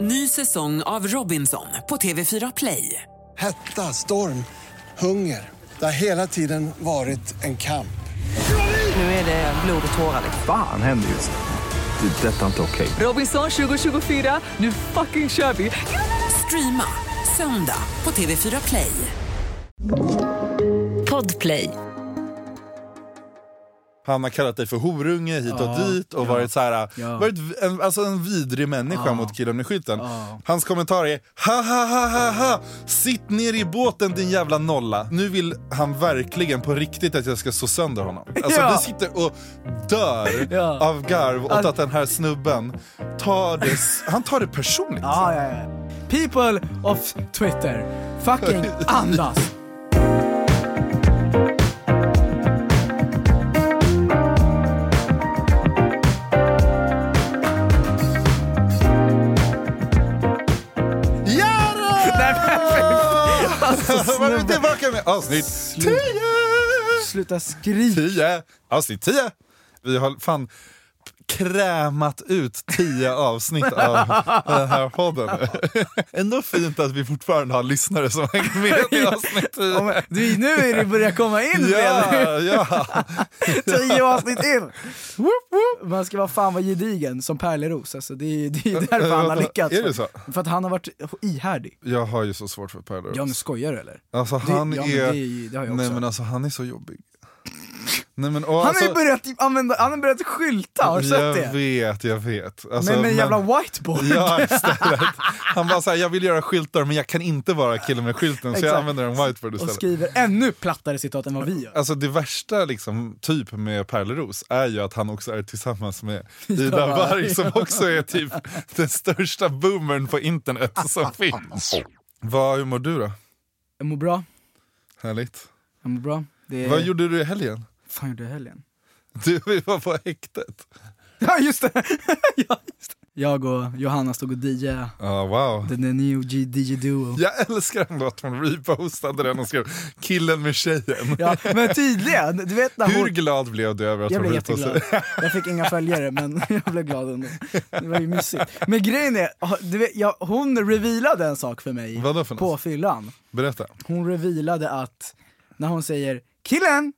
Ny säsong av Robinson på TV4 Play. Hetta, storm, hunger. Det har hela tiden varit en kamp. Nu är det blod och tårar. liksom. Fan händer just nu. Det. är Detta är inte okej. Robinson 2024, nu fucking kör vi! Streama söndag på TV4 Play. Podplay. Han har kallat dig för horunge hit och Ja, dit och ja, varit, så här, ja. varit en, alltså en vidrig människa Ja. mot killen i skylten. Ja. Hans kommentar är ha ha ha ha ha, sitt ner i båten din jävla nolla. Nu vill han verkligen på riktigt att jag ska slå sönder honom. Alltså Ja. vi sitter och dör Ja. av garv åt att den här snubben tar det, s- han tar det personligt. Ja, ja, ja. People of Twitter, fucking andas! Jävlar! Då är vi snubben. tillbaka med avsnitt 10! Sluta skrika! 10! Avsnitt 10! Vi har fan krämat ut 10 avsnitt av den här podden. Ändå fint att vi fortfarande har lyssnare som hänger med i avsnitt 10. Ja, men, Du, nu är det börjar komma in redan. Ja, ja. Tio avsnitt in! Man ska vara fan vara gedigen som Pärleros, alltså, det är det är därför han har lyckats. Är det så? För att han har varit ihärdig. Jag har ju så svårt för Pärleros. Ja men skojar du eller? Alltså Det- han ja, men är... det är ju- det har jag nej också. men alltså han är så jobbig. Nej, men, och Han har alltså, ju börjat typ använda, han har börjat skylta, har du Jag sett det? vet, jag vet. Alltså, Men med en jävla men- whiteboard. Ja, istället. Han bara såhär, jag vill göra skyltar men jag kan inte vara killen med skylten så jag Exakt. använder en whiteboard Och istället. skriver ännu plattare citat än vad vi gör. Alltså det värsta liksom, typ med Pärleros är ju att han också är tillsammans med Ida Ja. Warg som också är typ den största boomern på internet som finns. Vad, hur mår du då? Jag mår bra, Härligt. jag mår bra. Det är... Vad gjorde du i helgen? fan gjorde jag i helgen? Du vi var på häktet. Ja just det! ja, just det. Jag och Johanna stod och DJade, Ja, wow. den där new G- DJ Duo. Jag älskar ändå att hon repostade den och skrev killen med tjejen. Ja, men tydligen, du vet när Hur hon... glad blev du över att Jag hon blev repostade? jätteglad. Jag fick inga följare men jag blev glad ändå. Det var ju mysigt. Men grejen är, du vet, jag, hon revealade en sak för mig Vadå för något? på fyllan. Berätta. Hon revealade att, när hon säger 'killen'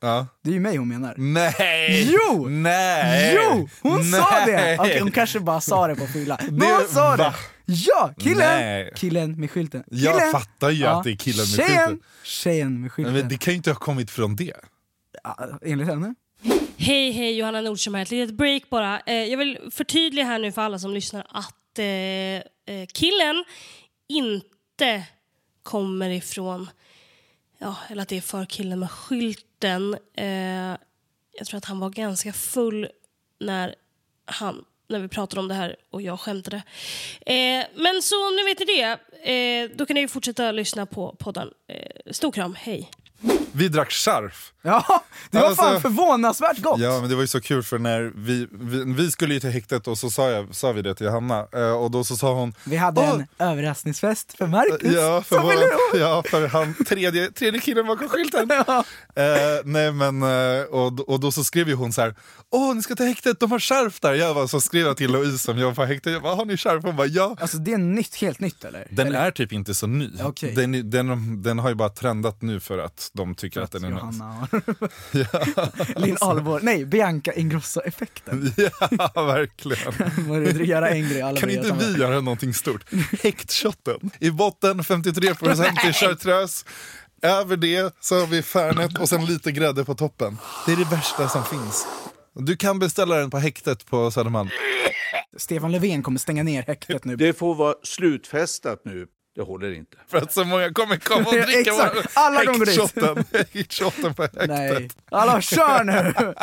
Ja. Det är ju mig hon menar. Nej! Jo! Nej! Jo! Hon sa det! Nej! Okej, hon kanske bara sa det på fylla. Men Det- hon va? sa det! Ja, killen! Nej. Killen med skylten. Killen. Jag fattar ju att det är killen med tjejen, skylten. Tjejen med skylten. Men det kan ju inte ha kommit från det. ja, enligt henne. Hej, hej, Johanna Nordström här. Ett litet break bara. Eh, jag vill förtydliga här nu för alla som lyssnar att eh, eh, killen inte kommer ifrån, ja, eller att det är för killen med skylten. Eh, jag tror att han var ganska full när han när vi pratade om det här och jag skämtade. Eh, men så nu vet ni det. Eh, då kan ni ju fortsätta lyssna på podden. Eh, stor kram, hej. Vi drack charf. Ja, det var fan Alltså- förvånansvärt gott! Ja, men det var ju så kul för när vi, vi, vi skulle ju till häktet och så sa, jag, sa vi det till Hanna Eh, och då så sa hon Vi hade "Åh, en överraskningsfest för Marcus. Ja, för, som ville... vår, ja, för han, tredje, tredje killen bakom skylten. Eh, nej, men, eh, och, och då så skrev ju hon så här, åh ni ska till häktet, de har skärf där. Jag bara, så skrev jag till Louise som jobbar på häktet, jag bara, har ni skärf? Hon bara, ja. Alltså det är nytt, helt nytt eller? Den är typ inte så ny. Okej. Den, är- den, den har ju bara trendat nu för att de tycker att, den är alltså. nice. Johanna har... Linn Ahlborg, nej Bianca Ingrosso-effekten. Ja, verkligen. Göra en grej alla Kan vill inte göra samma- vi göra någonting stort? Häktshotten. I botten 53 i chartreuse. Över det så har vi Fernet och sen lite grädde på toppen. Det är det värsta som finns. Du kan beställa den på häktet på Södermalm. Stefan Löfven kommer stänga ner häktet nu. Det får vara slutfestat nu. Det håller inte. För att så många kommer komma och dricka Exakt. vår- Alla kommer gå dit. häktshotten. Häktshotten på häktet. Nej. Alla kör nu!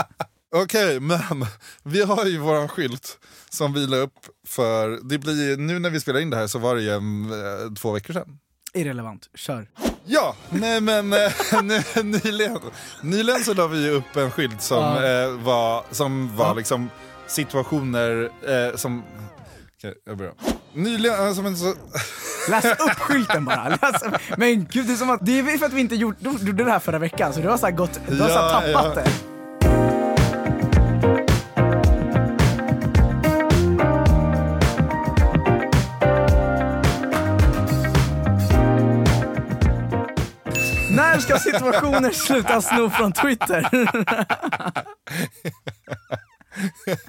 Okej, men vi har ju våran skylt som vi la upp för, det blir, nu när vi spelar in det här så var det ju eh, två veckor sedan. Irrelevant, kör. Ja, nej men eh, nu- nyligen, nyligen så la vi ju upp en skylt som Ja. eh, var, som var liksom situationer eh, som... Okej, jag börjar. Nyligen, eh, som en så... Läs upp skylten bara. Läs upp. Men gud, det är som att det är för att vi inte gjort, du gjorde det här förra veckan så du har så här gått, du har så här Ja, tappat ja. det. När ska situationer sluta sno från Twitter?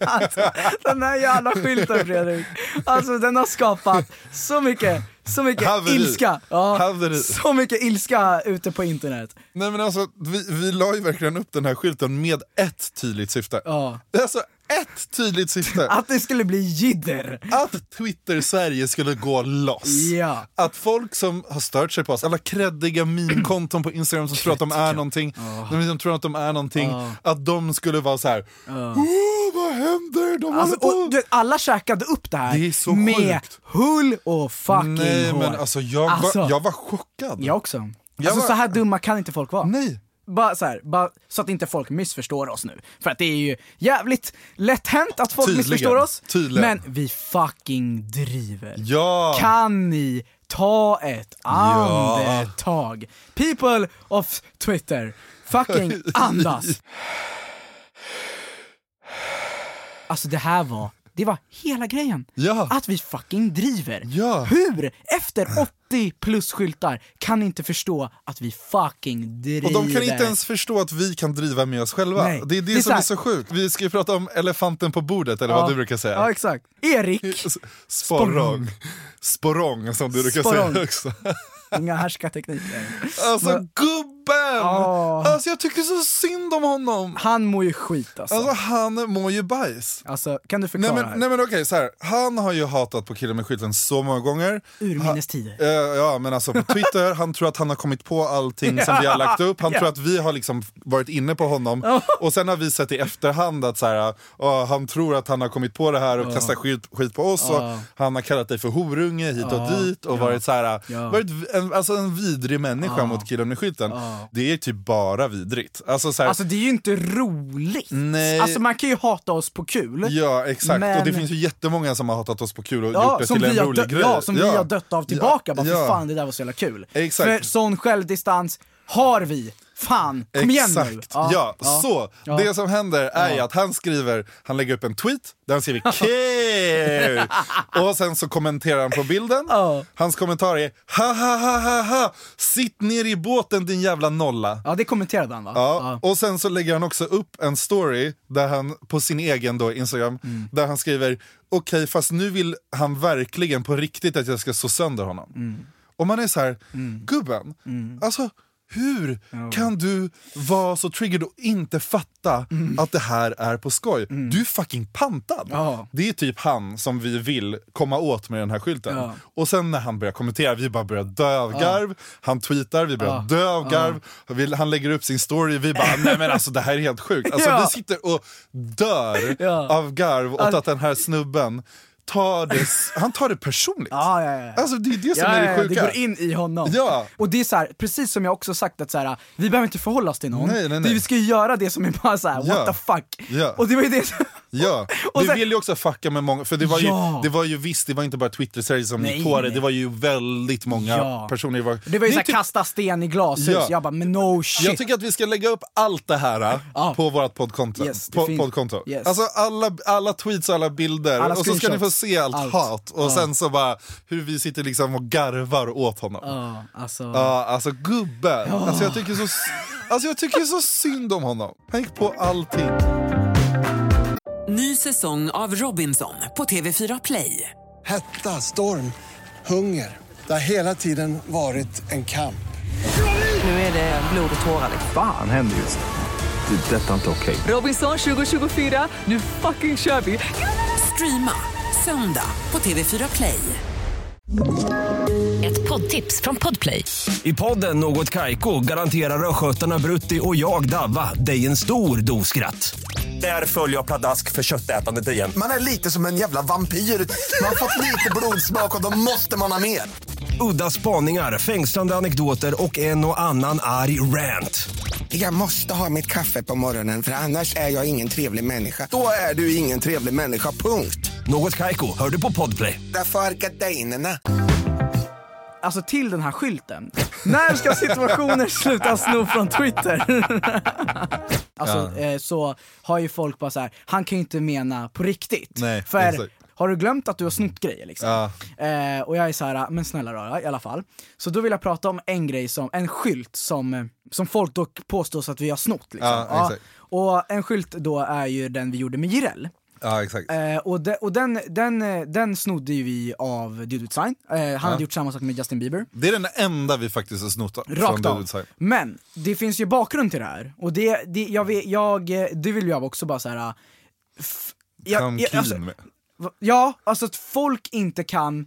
Att den här jävla skylten Fredrik, alltså den har skapat så mycket, så mycket Haveri. ilska. Ja, Haveri. så mycket ilska ute på internet. Nej men alltså, vi, vi la ju verkligen upp den här skylten med ett tydligt syfte. Ja. Alltså ett tydligt syfte. Att det skulle bli jidder. Att Twitter-Sverige skulle gå loss. Ja. Att folk som har stört sig på oss, alla kreddiga meme-konton på Instagram som tror att de är någonting, de som tror att de är någonting, att de skulle vara så här. "Åh, vad händer? De Alltså, håller på. och, du, vet, alla käkade upp det här Det är så med sjukt. hull och fucking Nej hår. men alltså jag, Alltså. Var, jag var chockad. Jag också. Jag alltså var- så här dumma kan inte folk vara. Nej. Bara så, här, bara så att inte folk missförstår oss nu. För att det är ju jävligt lätt hänt att folk Tydligen. missförstår oss. Tydligen. Men vi fucking driver. Ja. Kan ni ta ett Ja. andetag? People of Twitter, fucking andas. Alltså det här var, det var hela grejen. Ja. Att vi fucking driver. Ja. Hur, efter 80 plus skyltar, kan inte förstå att vi fucking driver? Och de kan inte ens förstå att vi kan driva med oss själva. Nej. Det är det, Det är som är här- så sjukt. Vi ska ju prata om elefanten på bordet, eller Ja. vad du brukar säga. Ja exakt. Erik, S- Sporrong. Sporrong, som du brukar Sporrong. säga också. inga härskartekniker. Alltså Men- gubben! Ja. Alltså jag tycker så synd om honom. Han mår ju skit alltså. Alltså Alltså, han mår ju bajs. kan du Nej förklara? men, nej men okej, så här. han har ju hatat på killen med skylten så många gånger. Urminnes tider. Eh, ja men alltså på Twitter, han tror att han har kommit på allting som vi har lagt upp. Han tror att vi har liksom varit inne på honom. Och sen har vi sett i efterhand att så här, ah, han tror att han har kommit på det här och kastat skit, skit på oss. Och han har kallat dig för horunge hit och dit och varit så här, Ja. varit v- en, alltså en vidrig människa mot killen med skylten. Det är typ bara vidrigt. Alltså, så här, Alltså det är ju inte roligt. Nej. Alltså man kan ju hata oss på kul. Ja exakt, Men- och det finns ju jättemånga som har hatat oss på kul och Ja, gjort det som, till vi en har, rolig dö- grej. ja, som vi har dött av tillbaka. Ja, Bara, ja. för fan det där var så jävla kul. Exakt. För sån självdistans har vi. Fan, Exakt. kom igen nu. Ja, så Ja. det som händer är ju att han skriver, han lägger upp en tweet där han skriver "Kul!" och sen så kommenterar han på bilden. Ja. Hans kommentar är ha ha ha ha ha, sitt ner i båten din jävla nolla. Ja, det kommenterade han va? Ja, och sen så lägger han också upp en story där han på sin egen då, Instagram Mm. där han skriver okej fast nu vill han verkligen på riktigt att jag ska slå sönder honom. Mm. Och man är så här, gubben, alltså hur kan du vara så triggered och inte fatta Mm. att det här är på skoj? Du är fucking pantad! Ja. Det är typ han som vi vill komma åt med den här skylten. Ja. Och sen när han börjar kommentera, vi bara börjar dö av garv. Han tweetar, vi börjar dö av garv. Vi- Han lägger upp sin story, vi bara nej men alltså det här är helt sjukt. Alltså Ja. vi sitter och dör Ja. av garv åt att den här snubben tar det, s- han tar det personligt. Ja, ja, ja. Alltså det är det som ja, är det ja, ja, sjuka. det går in i honom. Ja. Och det är så här, precis som jag också sagt att så här, vi behöver inte förhålla oss till någon. Nej, nej, nej. Vi ska ju göra det som är bara så här, what Ja. the fuck. Ja. Och det var ju det som... Ja, Och vi sen- vill ju också fucka med många, för det var ju, Ja. det var ju visst, det var inte bara Twitter-serier som Nej, gick på det, nej. det var ju väldigt många Ja. personer. Det var, Det var ju det är såhär typ- kasta sten i glashus, Ja. jag bara men no shit. Jag tycker att vi ska lägga upp allt det här eh, Ja. på vårt poddkonto. Yes, det på, fin- poddkonto. Yes. Alltså alla, alla tweets och alla bilder Alla och så ska ni få screenshots. se allt, Allt. hat och sen så bara hur vi sitter liksom och garvar åt honom. Ja, Ja, alltså. alltså gubben. Alltså, jag tycker så, s- alltså jag tycker så synd om honom. Han gick på allting. Ny säsong av Robinson på TV4 Play. Hetta, storm, hunger. Det har hela tiden varit en kamp. Nu är det blod och tårar. liksom. Fan händer just det. Det är detta inte okej. Robinson 2024, nu fucking kör vi! Streama söndag på TV4 Play. Ett poddtips från Podplay. I podden Något Kaiko garanterar östgötarna Brutti och jag, Davva, dig en stor dos skratt. Där följer jag pladask för köttätandet igen. Man är lite som en jävla vampyr. Man har fått lite blodsmak och då måste man ha mer. Udda spaningar, fängslande anekdoter och en och annan arg rant. Jag måste ha mitt kaffe på morgonen för annars är jag ingen trevlig människa. Då är du ingen trevlig människa, punkt. Något Kaiko, hör du på Podplay. Därför arkadeinerna. alltså till den här skylten. När ska situationer sluta sno från Twitter? alltså eh, så har ju folk bara så här. han kan ju inte mena på riktigt. Nej, För exakt. har du glömt att du har snott grejer liksom? Ja. Eh, och jag är så här, men snälla röra i alla fall. Så då vill jag prata om en grej som, en skylt som, eh, som folk då påstås att vi har snott liksom. Ja, exakt. Och en skylt då är ju den vi gjorde med Jireel. Ja, exakt. Eh, och de, och den, den, eh, den snodde ju vi av Dude With Sign, eh, han hade gjort samma sak med Justin Bieber. Det är den enda vi faktiskt har snott Rakt Dude av. With Sign. Men det finns ju bakgrund till det här, och det, det, jag, vet, jag, eh, det vill jag också bara eh, såhär... Come clean med. alltså, Va- Ja, alltså att folk inte kan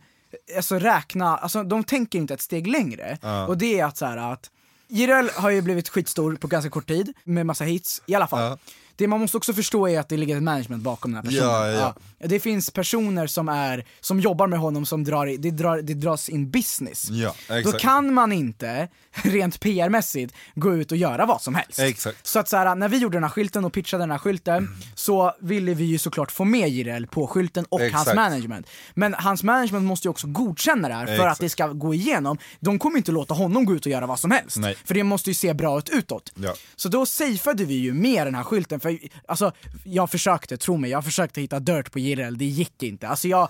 alltså, räkna, alltså, de tänker inte ett steg längre. Och det är att så här att Jireel har ju blivit skitstor på ganska kort tid, med massa hits i alla fall. Ja. Det man måste också förstå är att det ligger ett management bakom den här personen. Ja, ja. Det finns personer som, är, som jobbar med honom som drar, i- det drar, det dras in business. Ja, exakt. Då kan man inte, rent PR-mässigt, gå ut och göra vad som helst. Exakt. Mm. Så att så här, när vi gjorde den här skylten och pitchade den här skylten så ville vi ju såklart få med Jireel på skylten och hans Exakt. management. Men hans management måste ju också godkänna det här för att Exakt. det ska gå igenom. De kommer inte låta honom gå ut och göra vad som helst. Nej. För det måste ju se bra ut utåt. Ja. Så då safeade vi ju med den här skylten, för alltså, jag försökte, tro mig, jag försökte hitta dirt på Jireel, det gick inte. Alltså jag,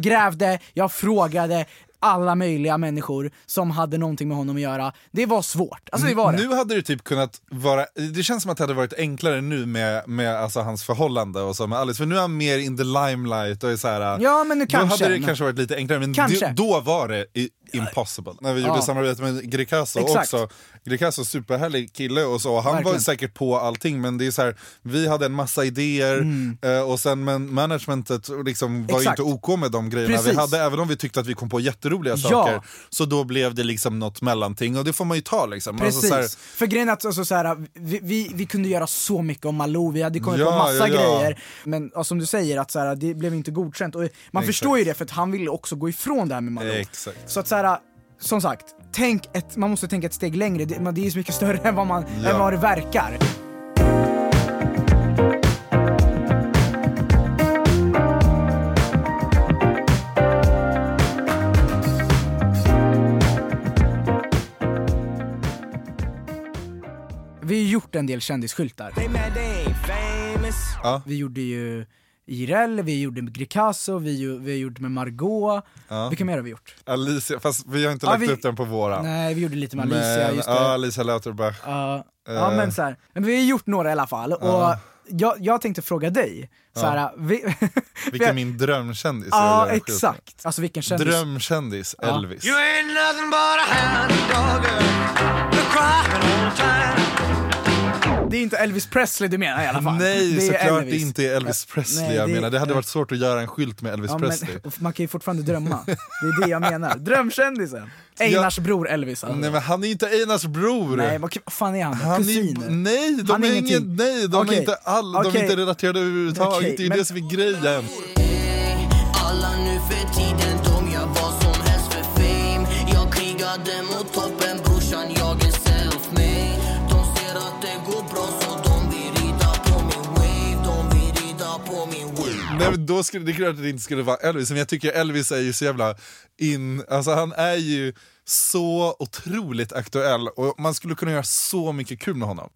grävde, jag frågade alla möjliga människor som hade någonting med honom att göra. Det var svårt, alltså det var det. Nu hade det typ kunnat vara, det känns som att det hade varit enklare nu med, med alltså hans förhållande och så med Alice, för nu är han mer in the limelight och är så här, äh, Ja, men nu då kanske, hade det men- kanske varit lite enklare, men Kanske. det- då var det i- impossible. När vi gjorde Ja. samarbete med Greekazo Exakt. också, Greekazo är superhärlig kille och så, och han var Verkligen. säkert på allting men det är så här, vi hade en massa idéer eh, och sen men managementet liksom var ju Mm. Exakt. inte OK med de grejerna Precis. vi hade, även om vi tyckte att vi kom på jätteroliga Ja. saker, så då blev det liksom något mellanting och det får man ju ta liksom. Alltså, Precis, så här, för grejen är att alltså, så här, vi, vi, vi kunde göra så mycket om Malou, vi hade kommit Ja, på massa ja, ja. grejer Men ja, som du säger, att, så här, det blev inte godkänt och man förstår ju det för att han ville också gå ifrån det här med Malou Exakt. Så att så här, som sagt, tänk ett, man måste tänka ett steg längre, det, men det är ju så mycket större än vad, man, Ja. än vad det verkar Vi har ju gjort en del kändisskyltar Ja. Vi gjorde ju Jireel, vi gjorde med Greekazo, vi, ju- vi har gjort med Margot Vilka mer har vi gjort? Alicia, fast vi har inte Ja, lagt vi- upp den på våran. Nej, vi gjorde lite med Alicia, men, just det Ja, Eh. Alicia Lauterbach. Ja, ja men så här, men vi har gjort några i alla fall och jag, jag tänkte fråga dig, så här, vi, Vilken min drömkändis. Ja jag vill göra skit med. exakt, alltså vilken kändis Drömkändis, Elvis. Det är inte Elvis Presley du menar i alla fall Nej, är såklart Elvis. det inte är Elvis Presley Nej, jag det- menar. Det hade varit svårt att göra en skylt med Elvis Ja, men, Presley. man kan ju fortfarande drömma, det är det jag menar. Drömkändisen! Einars bror Elvis alltså. Nej men han är inte Einars bror! Nej, vad k- vad fan är han? han Kusin? är, nej, de Han är, ingenting. ingen, nej, de Okej. är inte all, de Okej. är inte relaterade överhuvudtaget. Okej, det är ju men- det som är grejen. Alla nu för tiden, de gör vad som helst för fame Jag krigade mot toppen, brorsan jag är self-made De ser att det går bra så de vill rida på min wave De vill rida på min wave Nej, men då skulle, det är klart att det inte skulle vara Elvis, men jag tycker Elvis är ju så jävla in... Alltså han är ju så otroligt aktuell och man skulle kunna göra så mycket kul med honom.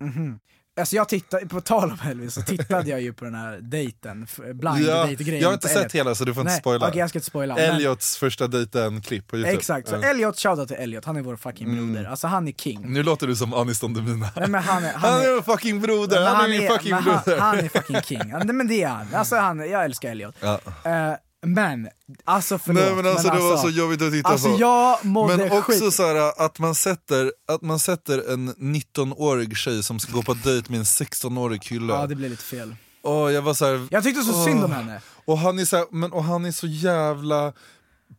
Alltså jag tittade, på tal om Elvis, så tittade jag ju på den här dejten, f- blind Ja, date-grejen jag har inte på sett Elliot. hela så du får inte Nej, spoila. okej, jag ska inte spoila, men- Elliots första dejten-klipp på Youtube. Exakt, så Typ. Ja. Mm. Elliot, shoutout till Elliot, han är vår fucking broder, alltså han är king Nu låter du som Anis Don Demina. Nej, men han är- han han, är är- en fucking broder! Men Han, är min fucking men broder! Han, han är fucking king, Ja, nej, men det är han, alltså han, jag älskar Elliot Eh, Men, alltså förlåt Nej men alltså det var så jobbigt att titta Alltså på. jag mådde men också skit så här, att man sätter, att man sätter en 19-årig tåg som ska gå på dejt med en 16-årig kille. Ja det blev lite fel Åh, jag var så här, Jag tyckte så åh. synd om henne. Och han är så, här, men, och han är så jävla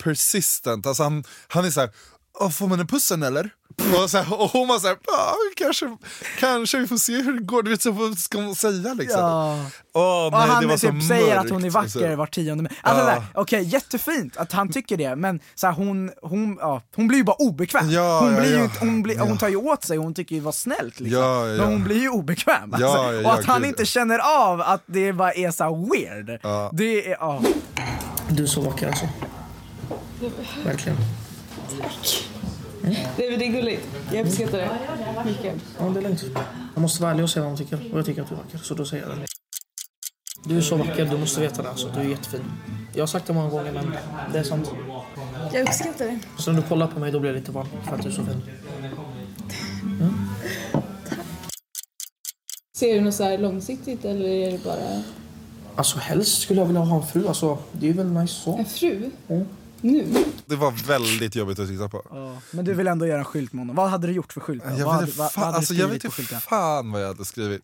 persistent. Alltså han, han är så här, "Åh, får man en pussen eller? Och, så här, och hon var så här, "Ja, kanske, kanske vi får se hur det går. Du vet, så vad ska hon säga liksom? Ja. Åh, och nej, han det var så typ säger att hon är mörkt. vacker var tionde men- alltså, såhär, Okej, jättefint att han tycker det, men så här, hon, hon, ja, hon blir ju bara obekväm. Ja, hon, ja, blir ju, ja. inte- hon, blir, hon tar ju åt sig, hon tycker ju vad snällt liksom. Ja, ja, Men ja. hon blir ju obekväm. Alltså. Ja, ja, och att ja, han gud, inte ja. känner av att det bara är så här weird. Det är, ja. Du är så vacker alltså Verkligen Nej, men det är gulligt. Jag uppskattar det. Mycket. Ja, det är lugnt. Jag måste vara ärlig och säga vad man tycker. Och jag tycker att du är vacker, så då säger jag det. Du är så vacker, du måste veta det. Alltså. Du är jättefin. Jag har sagt det många gånger, men det är sant. Jag uppskattar det. Så när du kollar på mig då blir jag lite varm för att du är så fin. Ser du något så här långsiktigt eller är det bara... Alltså helst skulle jag vilja ha en fru. Alltså, det är väl nice så. En fru? Nu? Det var väldigt jobbigt att titta på. Men du vill ändå göra en skylt med honom. Vad hade du gjort för skylt? då? Jag vad vet, hade, inte vad, fan, vad hade alltså, du jag skrivit vet på inte skylten? fan vad jag hade skrivit.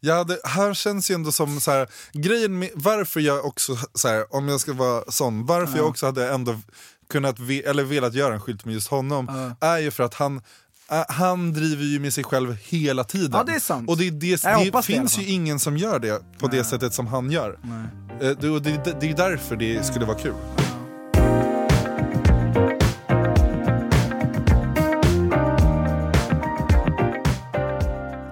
Jag hade, här känns ju ändå som så här, grejen med, varför jag också, så här, om jag ska vara sån, varför jag också hade ändå kunnat, ve, eller velat göra en skylt med just honom är ju för att han ä, han driver ju med sig själv hela tiden. Ja, det är sant. Och det, är det, Jag det hoppas det i finns alla ju ingen som gör det på det sättet som han gör. Eh, Det, och det, det är därför Mm. det skulle vara kul.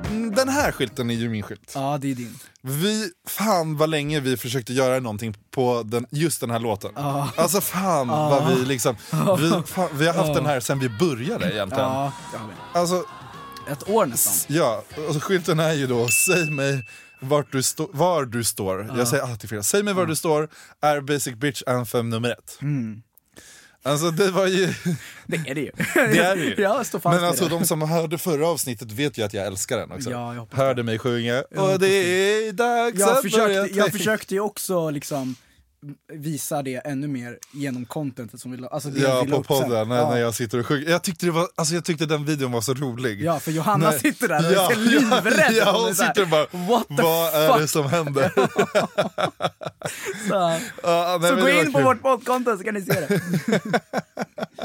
Mm, Den här skylten är ju min skylt. Ja, det är din. Vi, fan vad länge vi försökte göra någonting på den, just den här låten. Ja. Alltså fan Ja. vad vi liksom, vi, fan, vi har haft Ja. den här sen vi började egentligen. Ja, jag vet. Alltså, Ett år nästan. Ja, och skylten är ju då säg mig vart du stå, var du står. Ja. Jag säger alltid fel. Säg mig var du står är Basic Bitch Anthem nummer ett. Mm. Alltså det var ju... Det är det ju. Det är det ju. Jag står fast Men vid alltså det. de som hörde förra avsnittet vet ju att jag älskar den också. Ja, jag hoppas hörde mig sjunga Jag och hoppas det det. är dags jag att börja försökte, jag tänka." försökte ju också liksom visa det ännu mer genom contentet som vi la alltså det jag Ja, vi la på upp sen. podden när, Ja. när jag sitter och sjunger. Jag tyckte, det var, alltså, jag tyckte den videon var så rolig. Ja, för Johanna Nej. sitter där och Ja, är livrädd. Ja, Hon är hon så här, sitter och bara, "What the vad är det fuck?" som händer? Så, Ja, nej, men så gå det var in på kul. vårt poddkonto så kan ni se det.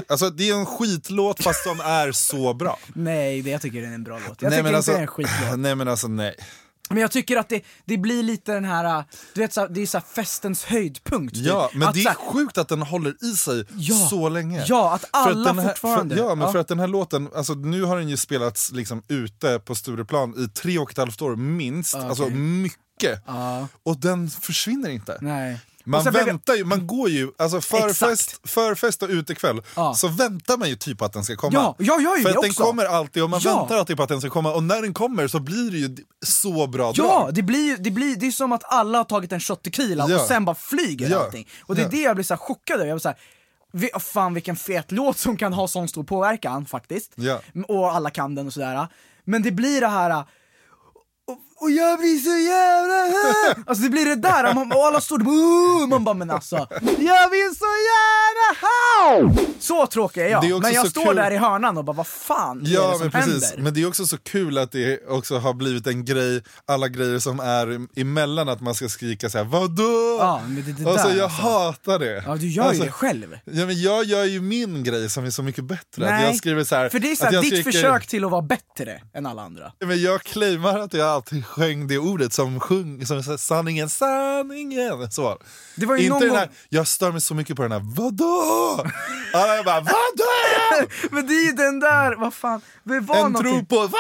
Alltså det är en skitlåt fast de är så bra. nej, det, jag tycker det är en bra låt. Jag Nej, tycker men inte alltså- det är en skitlåt. Nej men alltså nej. Men jag tycker att det, det blir lite den här, äh, du vet så här, det är så här festens höjdpunkt. typ. Ja, men att, det så är här, sjukt att den håller i sig Ja. så länge. Ja, att alla den här, fortfarande- För, ja, men Ja. för att den här låten, alltså nu har den ju spelats liksom ute på Stureplan i tre och ett halvt år minst, Ja, alltså Ah, okej. mycket. Ja. Och den försvinner inte. Nej. Man Och sen blev jag- väntar ju, man går ju, alltså förfest, förfest och utekväll, så väntar man ju typ på att den ska komma. Ja, jag gör ju För det att den också. kommer alltid och man Ja. väntar alltid på att den ska komma och när den kommer så blir det ju så bra Ja, drag. det blir ju, det blir, det är som att alla har tagit en shot tequila Ja. och sen bara flyger Ja. allting. Och det är Ja. det jag blir så här chockad över, jag blir så här, vi, åh, fan vilken fet låt som kan ha sån stor påverkan faktiskt. Ja. M- Och alla kan den och sådär. Men det blir det här, äh, och, och jag blir så jävla här. Alltså det blir det där, och man, och alla står där, "Ooh", man bara men alltså, jag vill så gärna ha! Så tråkig är jag, Det är också men jag så står kul- där i hörnan och bara vad fan är det Ja, som men precis. händer? Men det är också så kul att det också har blivit en grej, alla grejer som är em- emellan att man ska skrika så här vadå? Ja, men det- det alltså, där jag alltså. hatar det. Ja, du gör ju alltså, det själv. Ja, men jag gör ju min grej som är så mycket bättre. Att jag skriver så här, för det är så att här, jag ditt skriker- försök till att vara bättre än alla andra. Men jag claimar att jag alltid sjöng det ordet som sjung, som så här, sanningen, sanningen. Så. Det var ju Inte någon den här, gång- jag stör mig så mycket på den här, vadå? ja, jag bara, vadå? Men det är ju den där, vad fan, det var En någonting. tro på, vadå?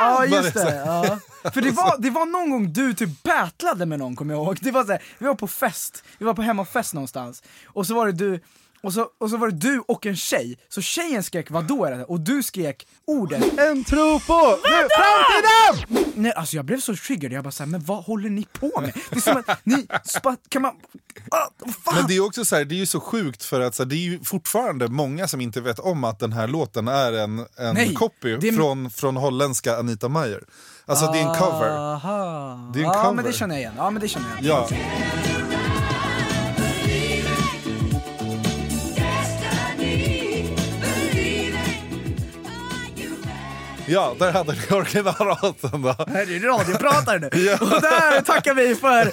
Ja Bara just så det, här. ja. För det var, det var någon gång du typ battlade med någon kommer jag ihåg, det var så här, vi var på fest, vi var på hemmafest någonstans, och så var det du och så, och så var det du och en tjej, så tjejen skrek vadå är det? Och du skrek ordet En tro på nu, framtiden! Nej alltså jag blev så triggad, jag bara såhär, men vad håller ni på med? Det är som att ni, spa, kan man, ah, vad fan? Men det är också så här, det är ju så sjukt för att så här, det är ju fortfarande många som inte vet om att den här låten är en, en Nej, copy det är- från, från holländska Anita Meyer. Alltså det är en cover. Aha. Det är en ja cover. men det känner jag igen, ja men det känner jag igen. Ja. Ja, där hade ni originalraten då. Här är radiopratare nu! Och där tackar vi för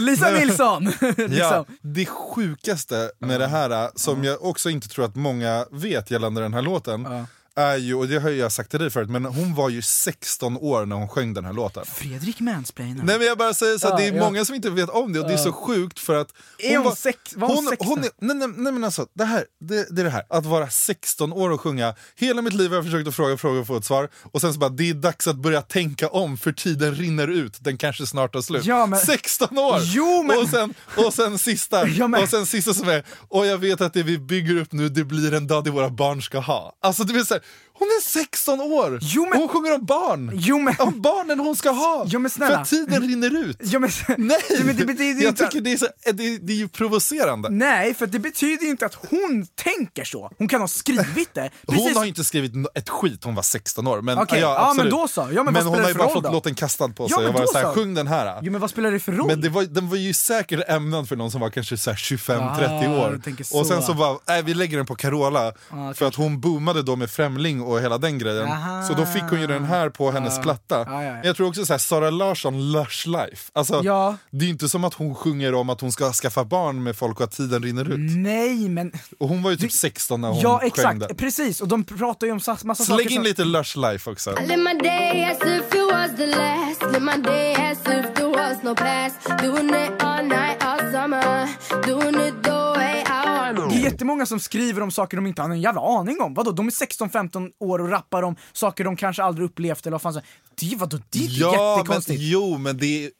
Lisa Nilsson! Ja, liksom. det sjukaste med det här, äh, som jag också inte tror att många vet gällande den här låten, är ju, och det har ju jag sagt till dig förut, men hon var ju 16 år när hon sjöng den här låten. Fredrik mansplainar. Nej men jag bara säger så att Ja, det är ja. många som inte vet om det och det är Ja. så sjukt för att... Är hon sex- var hon hon, 16? hon är, nej, nej, nej men alltså, det, här, det, det är det här. Att vara 16 år och sjunga. Hela mitt liv har jag försökt att fråga frågor och få ett svar. Och sen så bara, det är dags att börja tänka om för tiden rinner ut. Den kanske snart tar slut. Ja, men- 16 år! Jo, men- och, sen, och sen sista, Ja, men- och sen sista som är, och jag vet att det vi bygger upp nu det blir en dag det våra barn ska ha. Alltså det vill säga, Hon är 16 år! Jo, men... Hon sjunger om barn! Jo, men... Om barnen hon ska ha! Jo, men snälla. För att tiden rinner ut! Jo, men... Nej! Jo, men det betyder jag inte att- tycker det är, så, det, det är ju provocerande. Nej, för det betyder ju inte att hon tänker så. Hon kan ha skrivit det. Hon har ju inte skrivit nå- ett skit, hon var 16 år. Men, Okej, ja, ja, men absolut. då så. Ja, men vad spelar hon det har ju för bara roll fått då? låten kastad på Ja, sig men och varit då såhär, så. sjung den här. Jo, men vad spelar det för roll? Men det var, den var ju säkert ämnad för någon som var kanske så här 25-30 Ah, år. du tänker Och sen så. Ah, så bara, nej vi lägger den på Carola. för att hon boomade då med Främling och hela den grejen. Aha. Så då fick hon ju den här på hennes Ja. platta. Ja, ja, ja. Men Jag tror också såhär, Sara Larsson, Lush Life. Alltså, Ja. Det är ju inte som att hon sjunger om att hon ska skaffa barn med folk och att tiden rinner ut. Nej, men... Och hon var ju typ 16 när hon Mm. Ja, sjöng exakt. den. Precis, och de pratar ju om sa- massa Så saker lägg in som... lite Lush Life också. I live my day as if it was the last. Live my day as if there was no past. Doing it all night, all summer. Doing it the way I Det want. Oh. är jättemånga som skriver om saker de inte har en jävla aning om. Vadå, de är 16-15 år och rappar om saker de kanske aldrig upplevt eller vad fan som- Det, vadå, det är men, jättekonstigt. jo, men det är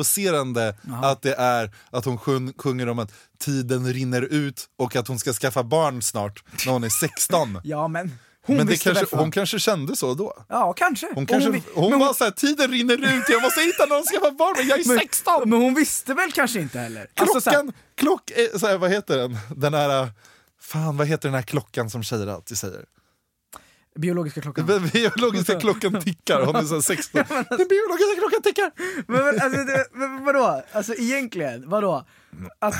provocerande att det är att hon sjung, sjunger om att tiden rinner ut och att hon ska skaffa barn snart när hon är 16. Ja, men hon men det visste kanske, väl fan. hon kanske kände så då. Ja, kanske. Hon, kanske, vi- hon, men var såhär, tiden rinner ut, jag måste hitta någon som skaffar barn, men jag är men, 16! Men hon visste väl kanske inte heller? Alltså, Klockan, så här- klock, eh, så här, vad heter den? Den här, eh, fan vad heter den här klockan som tjejer alltid säger? biologiska klockan. Den biologiska klockan tickar, hon är så här 16. Den biologiska klockan tickar! Men, men, alltså, det, men vadå? Alltså egentligen, vadå? Att,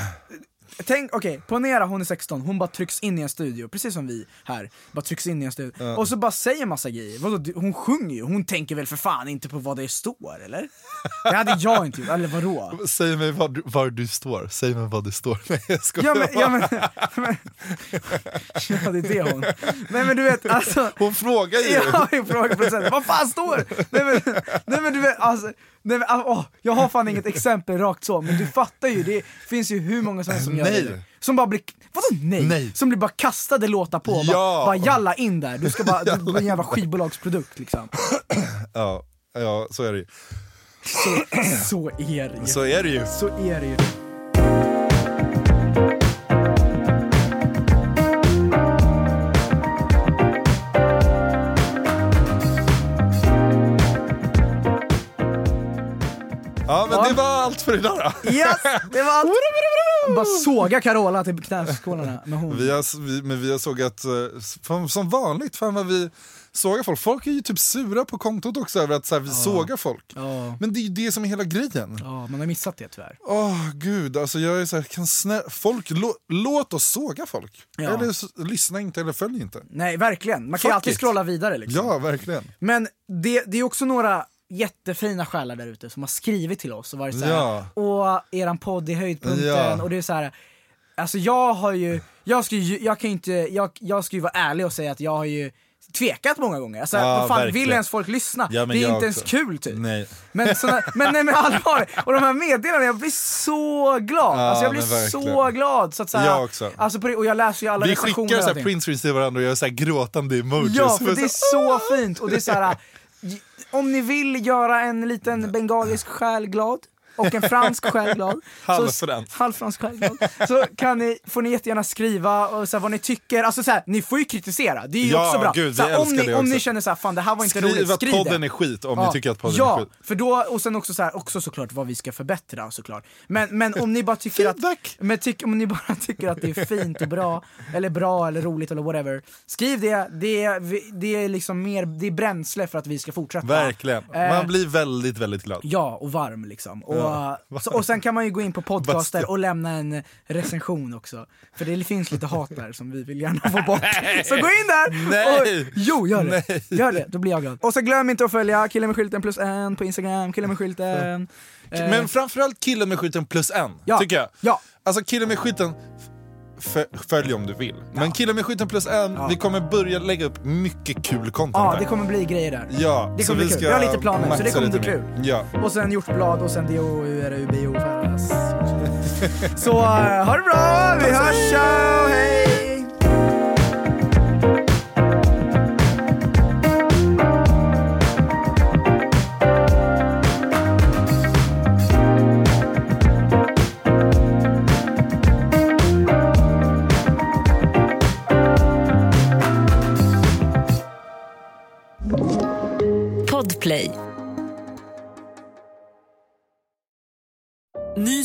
tänk, okej, ponera hon är 16, hon bara trycks in i en studio, precis som vi här. Bara trycks in i en studio. Och så bara säger massa grejer. Vadå, du- hon sjunger ju, hon tänker väl för fan inte på vad det står, eller? Det hade jag inte gjort, eller vadå? Säg mig var du, var du står, säg mig var du står. Nej, jag skojar. Ja men, ja men, men Ja det är det hon. Nej men du vet alltså. Hon frågar ju. Ja hon frågar procenten, vad fan står Nej men, nej men du vet alltså. Nej, men, ah, åh, jag har fan inget exempel rakt så, men du fattar ju, det finns ju hur många som, helst som gör Nej. det. Som bara blir, vadå nej? Som blir bara kastade låtar på, bara, Ja. bara jalla in där, du ska bara, du är en jävla skivbolagsprodukt liksom. Ja, ja, så är det ju. Så, så är det ju. Så är det ju. Så är det ju. Ja, men det var allt för idag då. Yes, det var allt. Bara såga Carola till knäskålarna. Men hon... Vi har, vi, men vi har sågat, eh, fan, som vanligt, fan vad vi sågar folk. Folk är ju typ sura på kontot också över att så här, vi sågar folk. Ja. Men det är ju det som är hela grejen. Ja, man har missat det tyvärr. Åh gud, alltså jag är så här, kan snä- folk, lå- låt oss såga folk. Ja. Eller s- lyssna inte eller följ inte. Nej, verkligen. Man kan Fuck ju alltid it. scrolla vidare. Liksom. Ja, verkligen. Men det, det är också några jättefina själar där ute som har skrivit till oss och varit såhär, Ja. åh, eran podd är höjdpunkten. Ja. Och det är så här, alltså jag har ju, jag ska ju, jag kan ju inte, jag, jag ska ju vara ärlig och säga att jag har ju tvekat många gånger. Alltså, Ja, vad fan, verkligen. vill ens folk lyssna? Ja, men det är jag inte ens också. kul typ. Nej. Men, såna, men, nej, men allvarligt, och de här meddelandena, jag blir så glad! Ja, alltså jag men blir verkligen. så glad! Så att, så här, Jag också. Alltså på det, och jag läser ju alla Vi recensioner skickar och så här allting. printscreens till varandra och gör så här gråtande emojis. Ja, för Och det är så fint och det är så här. j- Om ni vill göra en liten bengalisk själ glad och en fransk själ glad. så- Halvfransk. Halvfransk själ glad. Så kan ni, får ni jättegärna skriva och så här, vad ni tycker. Alltså så här, ni får ju kritisera, det är ju Ja, också bra. gud, vi så här, om, älskar ni, det om också. ni känner så här, fan det här var inte Skriv roligt, att skriv det. podden är skit om ni tycker att podden ja, är skit. för då, och sen också så här, också såklart vad vi ska förbättra såklart. Men, men om ni bara tycker att, men tyck, om ni bara tycker att det är fint och bra, eller bra eller roligt eller whatever, skriv det, det, är- vi- det är liksom mer, det är bränsle för att vi ska fortsätta. Verkligen. Man Eh, blir väldigt, väldigt glad. Ja, och varm liksom. Och, Ja. så, och sen kan man ju gå in på podcaster Bastu. och lämna en recension också. För det finns lite hat där som vi vill gärna få bort. Nej. Så gå in där! Nej. Och, jo, gör det. Gör det, då blir jag glad. Och så glöm inte att följa killen med skylten plus en på Instagram, killen med skylten. Eh, Men framförallt killen med skylten plus en, Ja. tycker jag. Ja. Alltså killen med skylten, f- följ om du vill. Men killen med skylten plus en, vi kommer börja lägga upp mycket kul content Ja, där. det kommer bli grejer där. Ja, det så kommer bli vi kul. ska Vi har lite planer, så det maxa kommer bli lite kul. mer. Ja. Och sen hjortblad och sen DO, UR, UBO, Färras. Så eh, ha det bra, vi hörs, ciao, hej! Play. Ny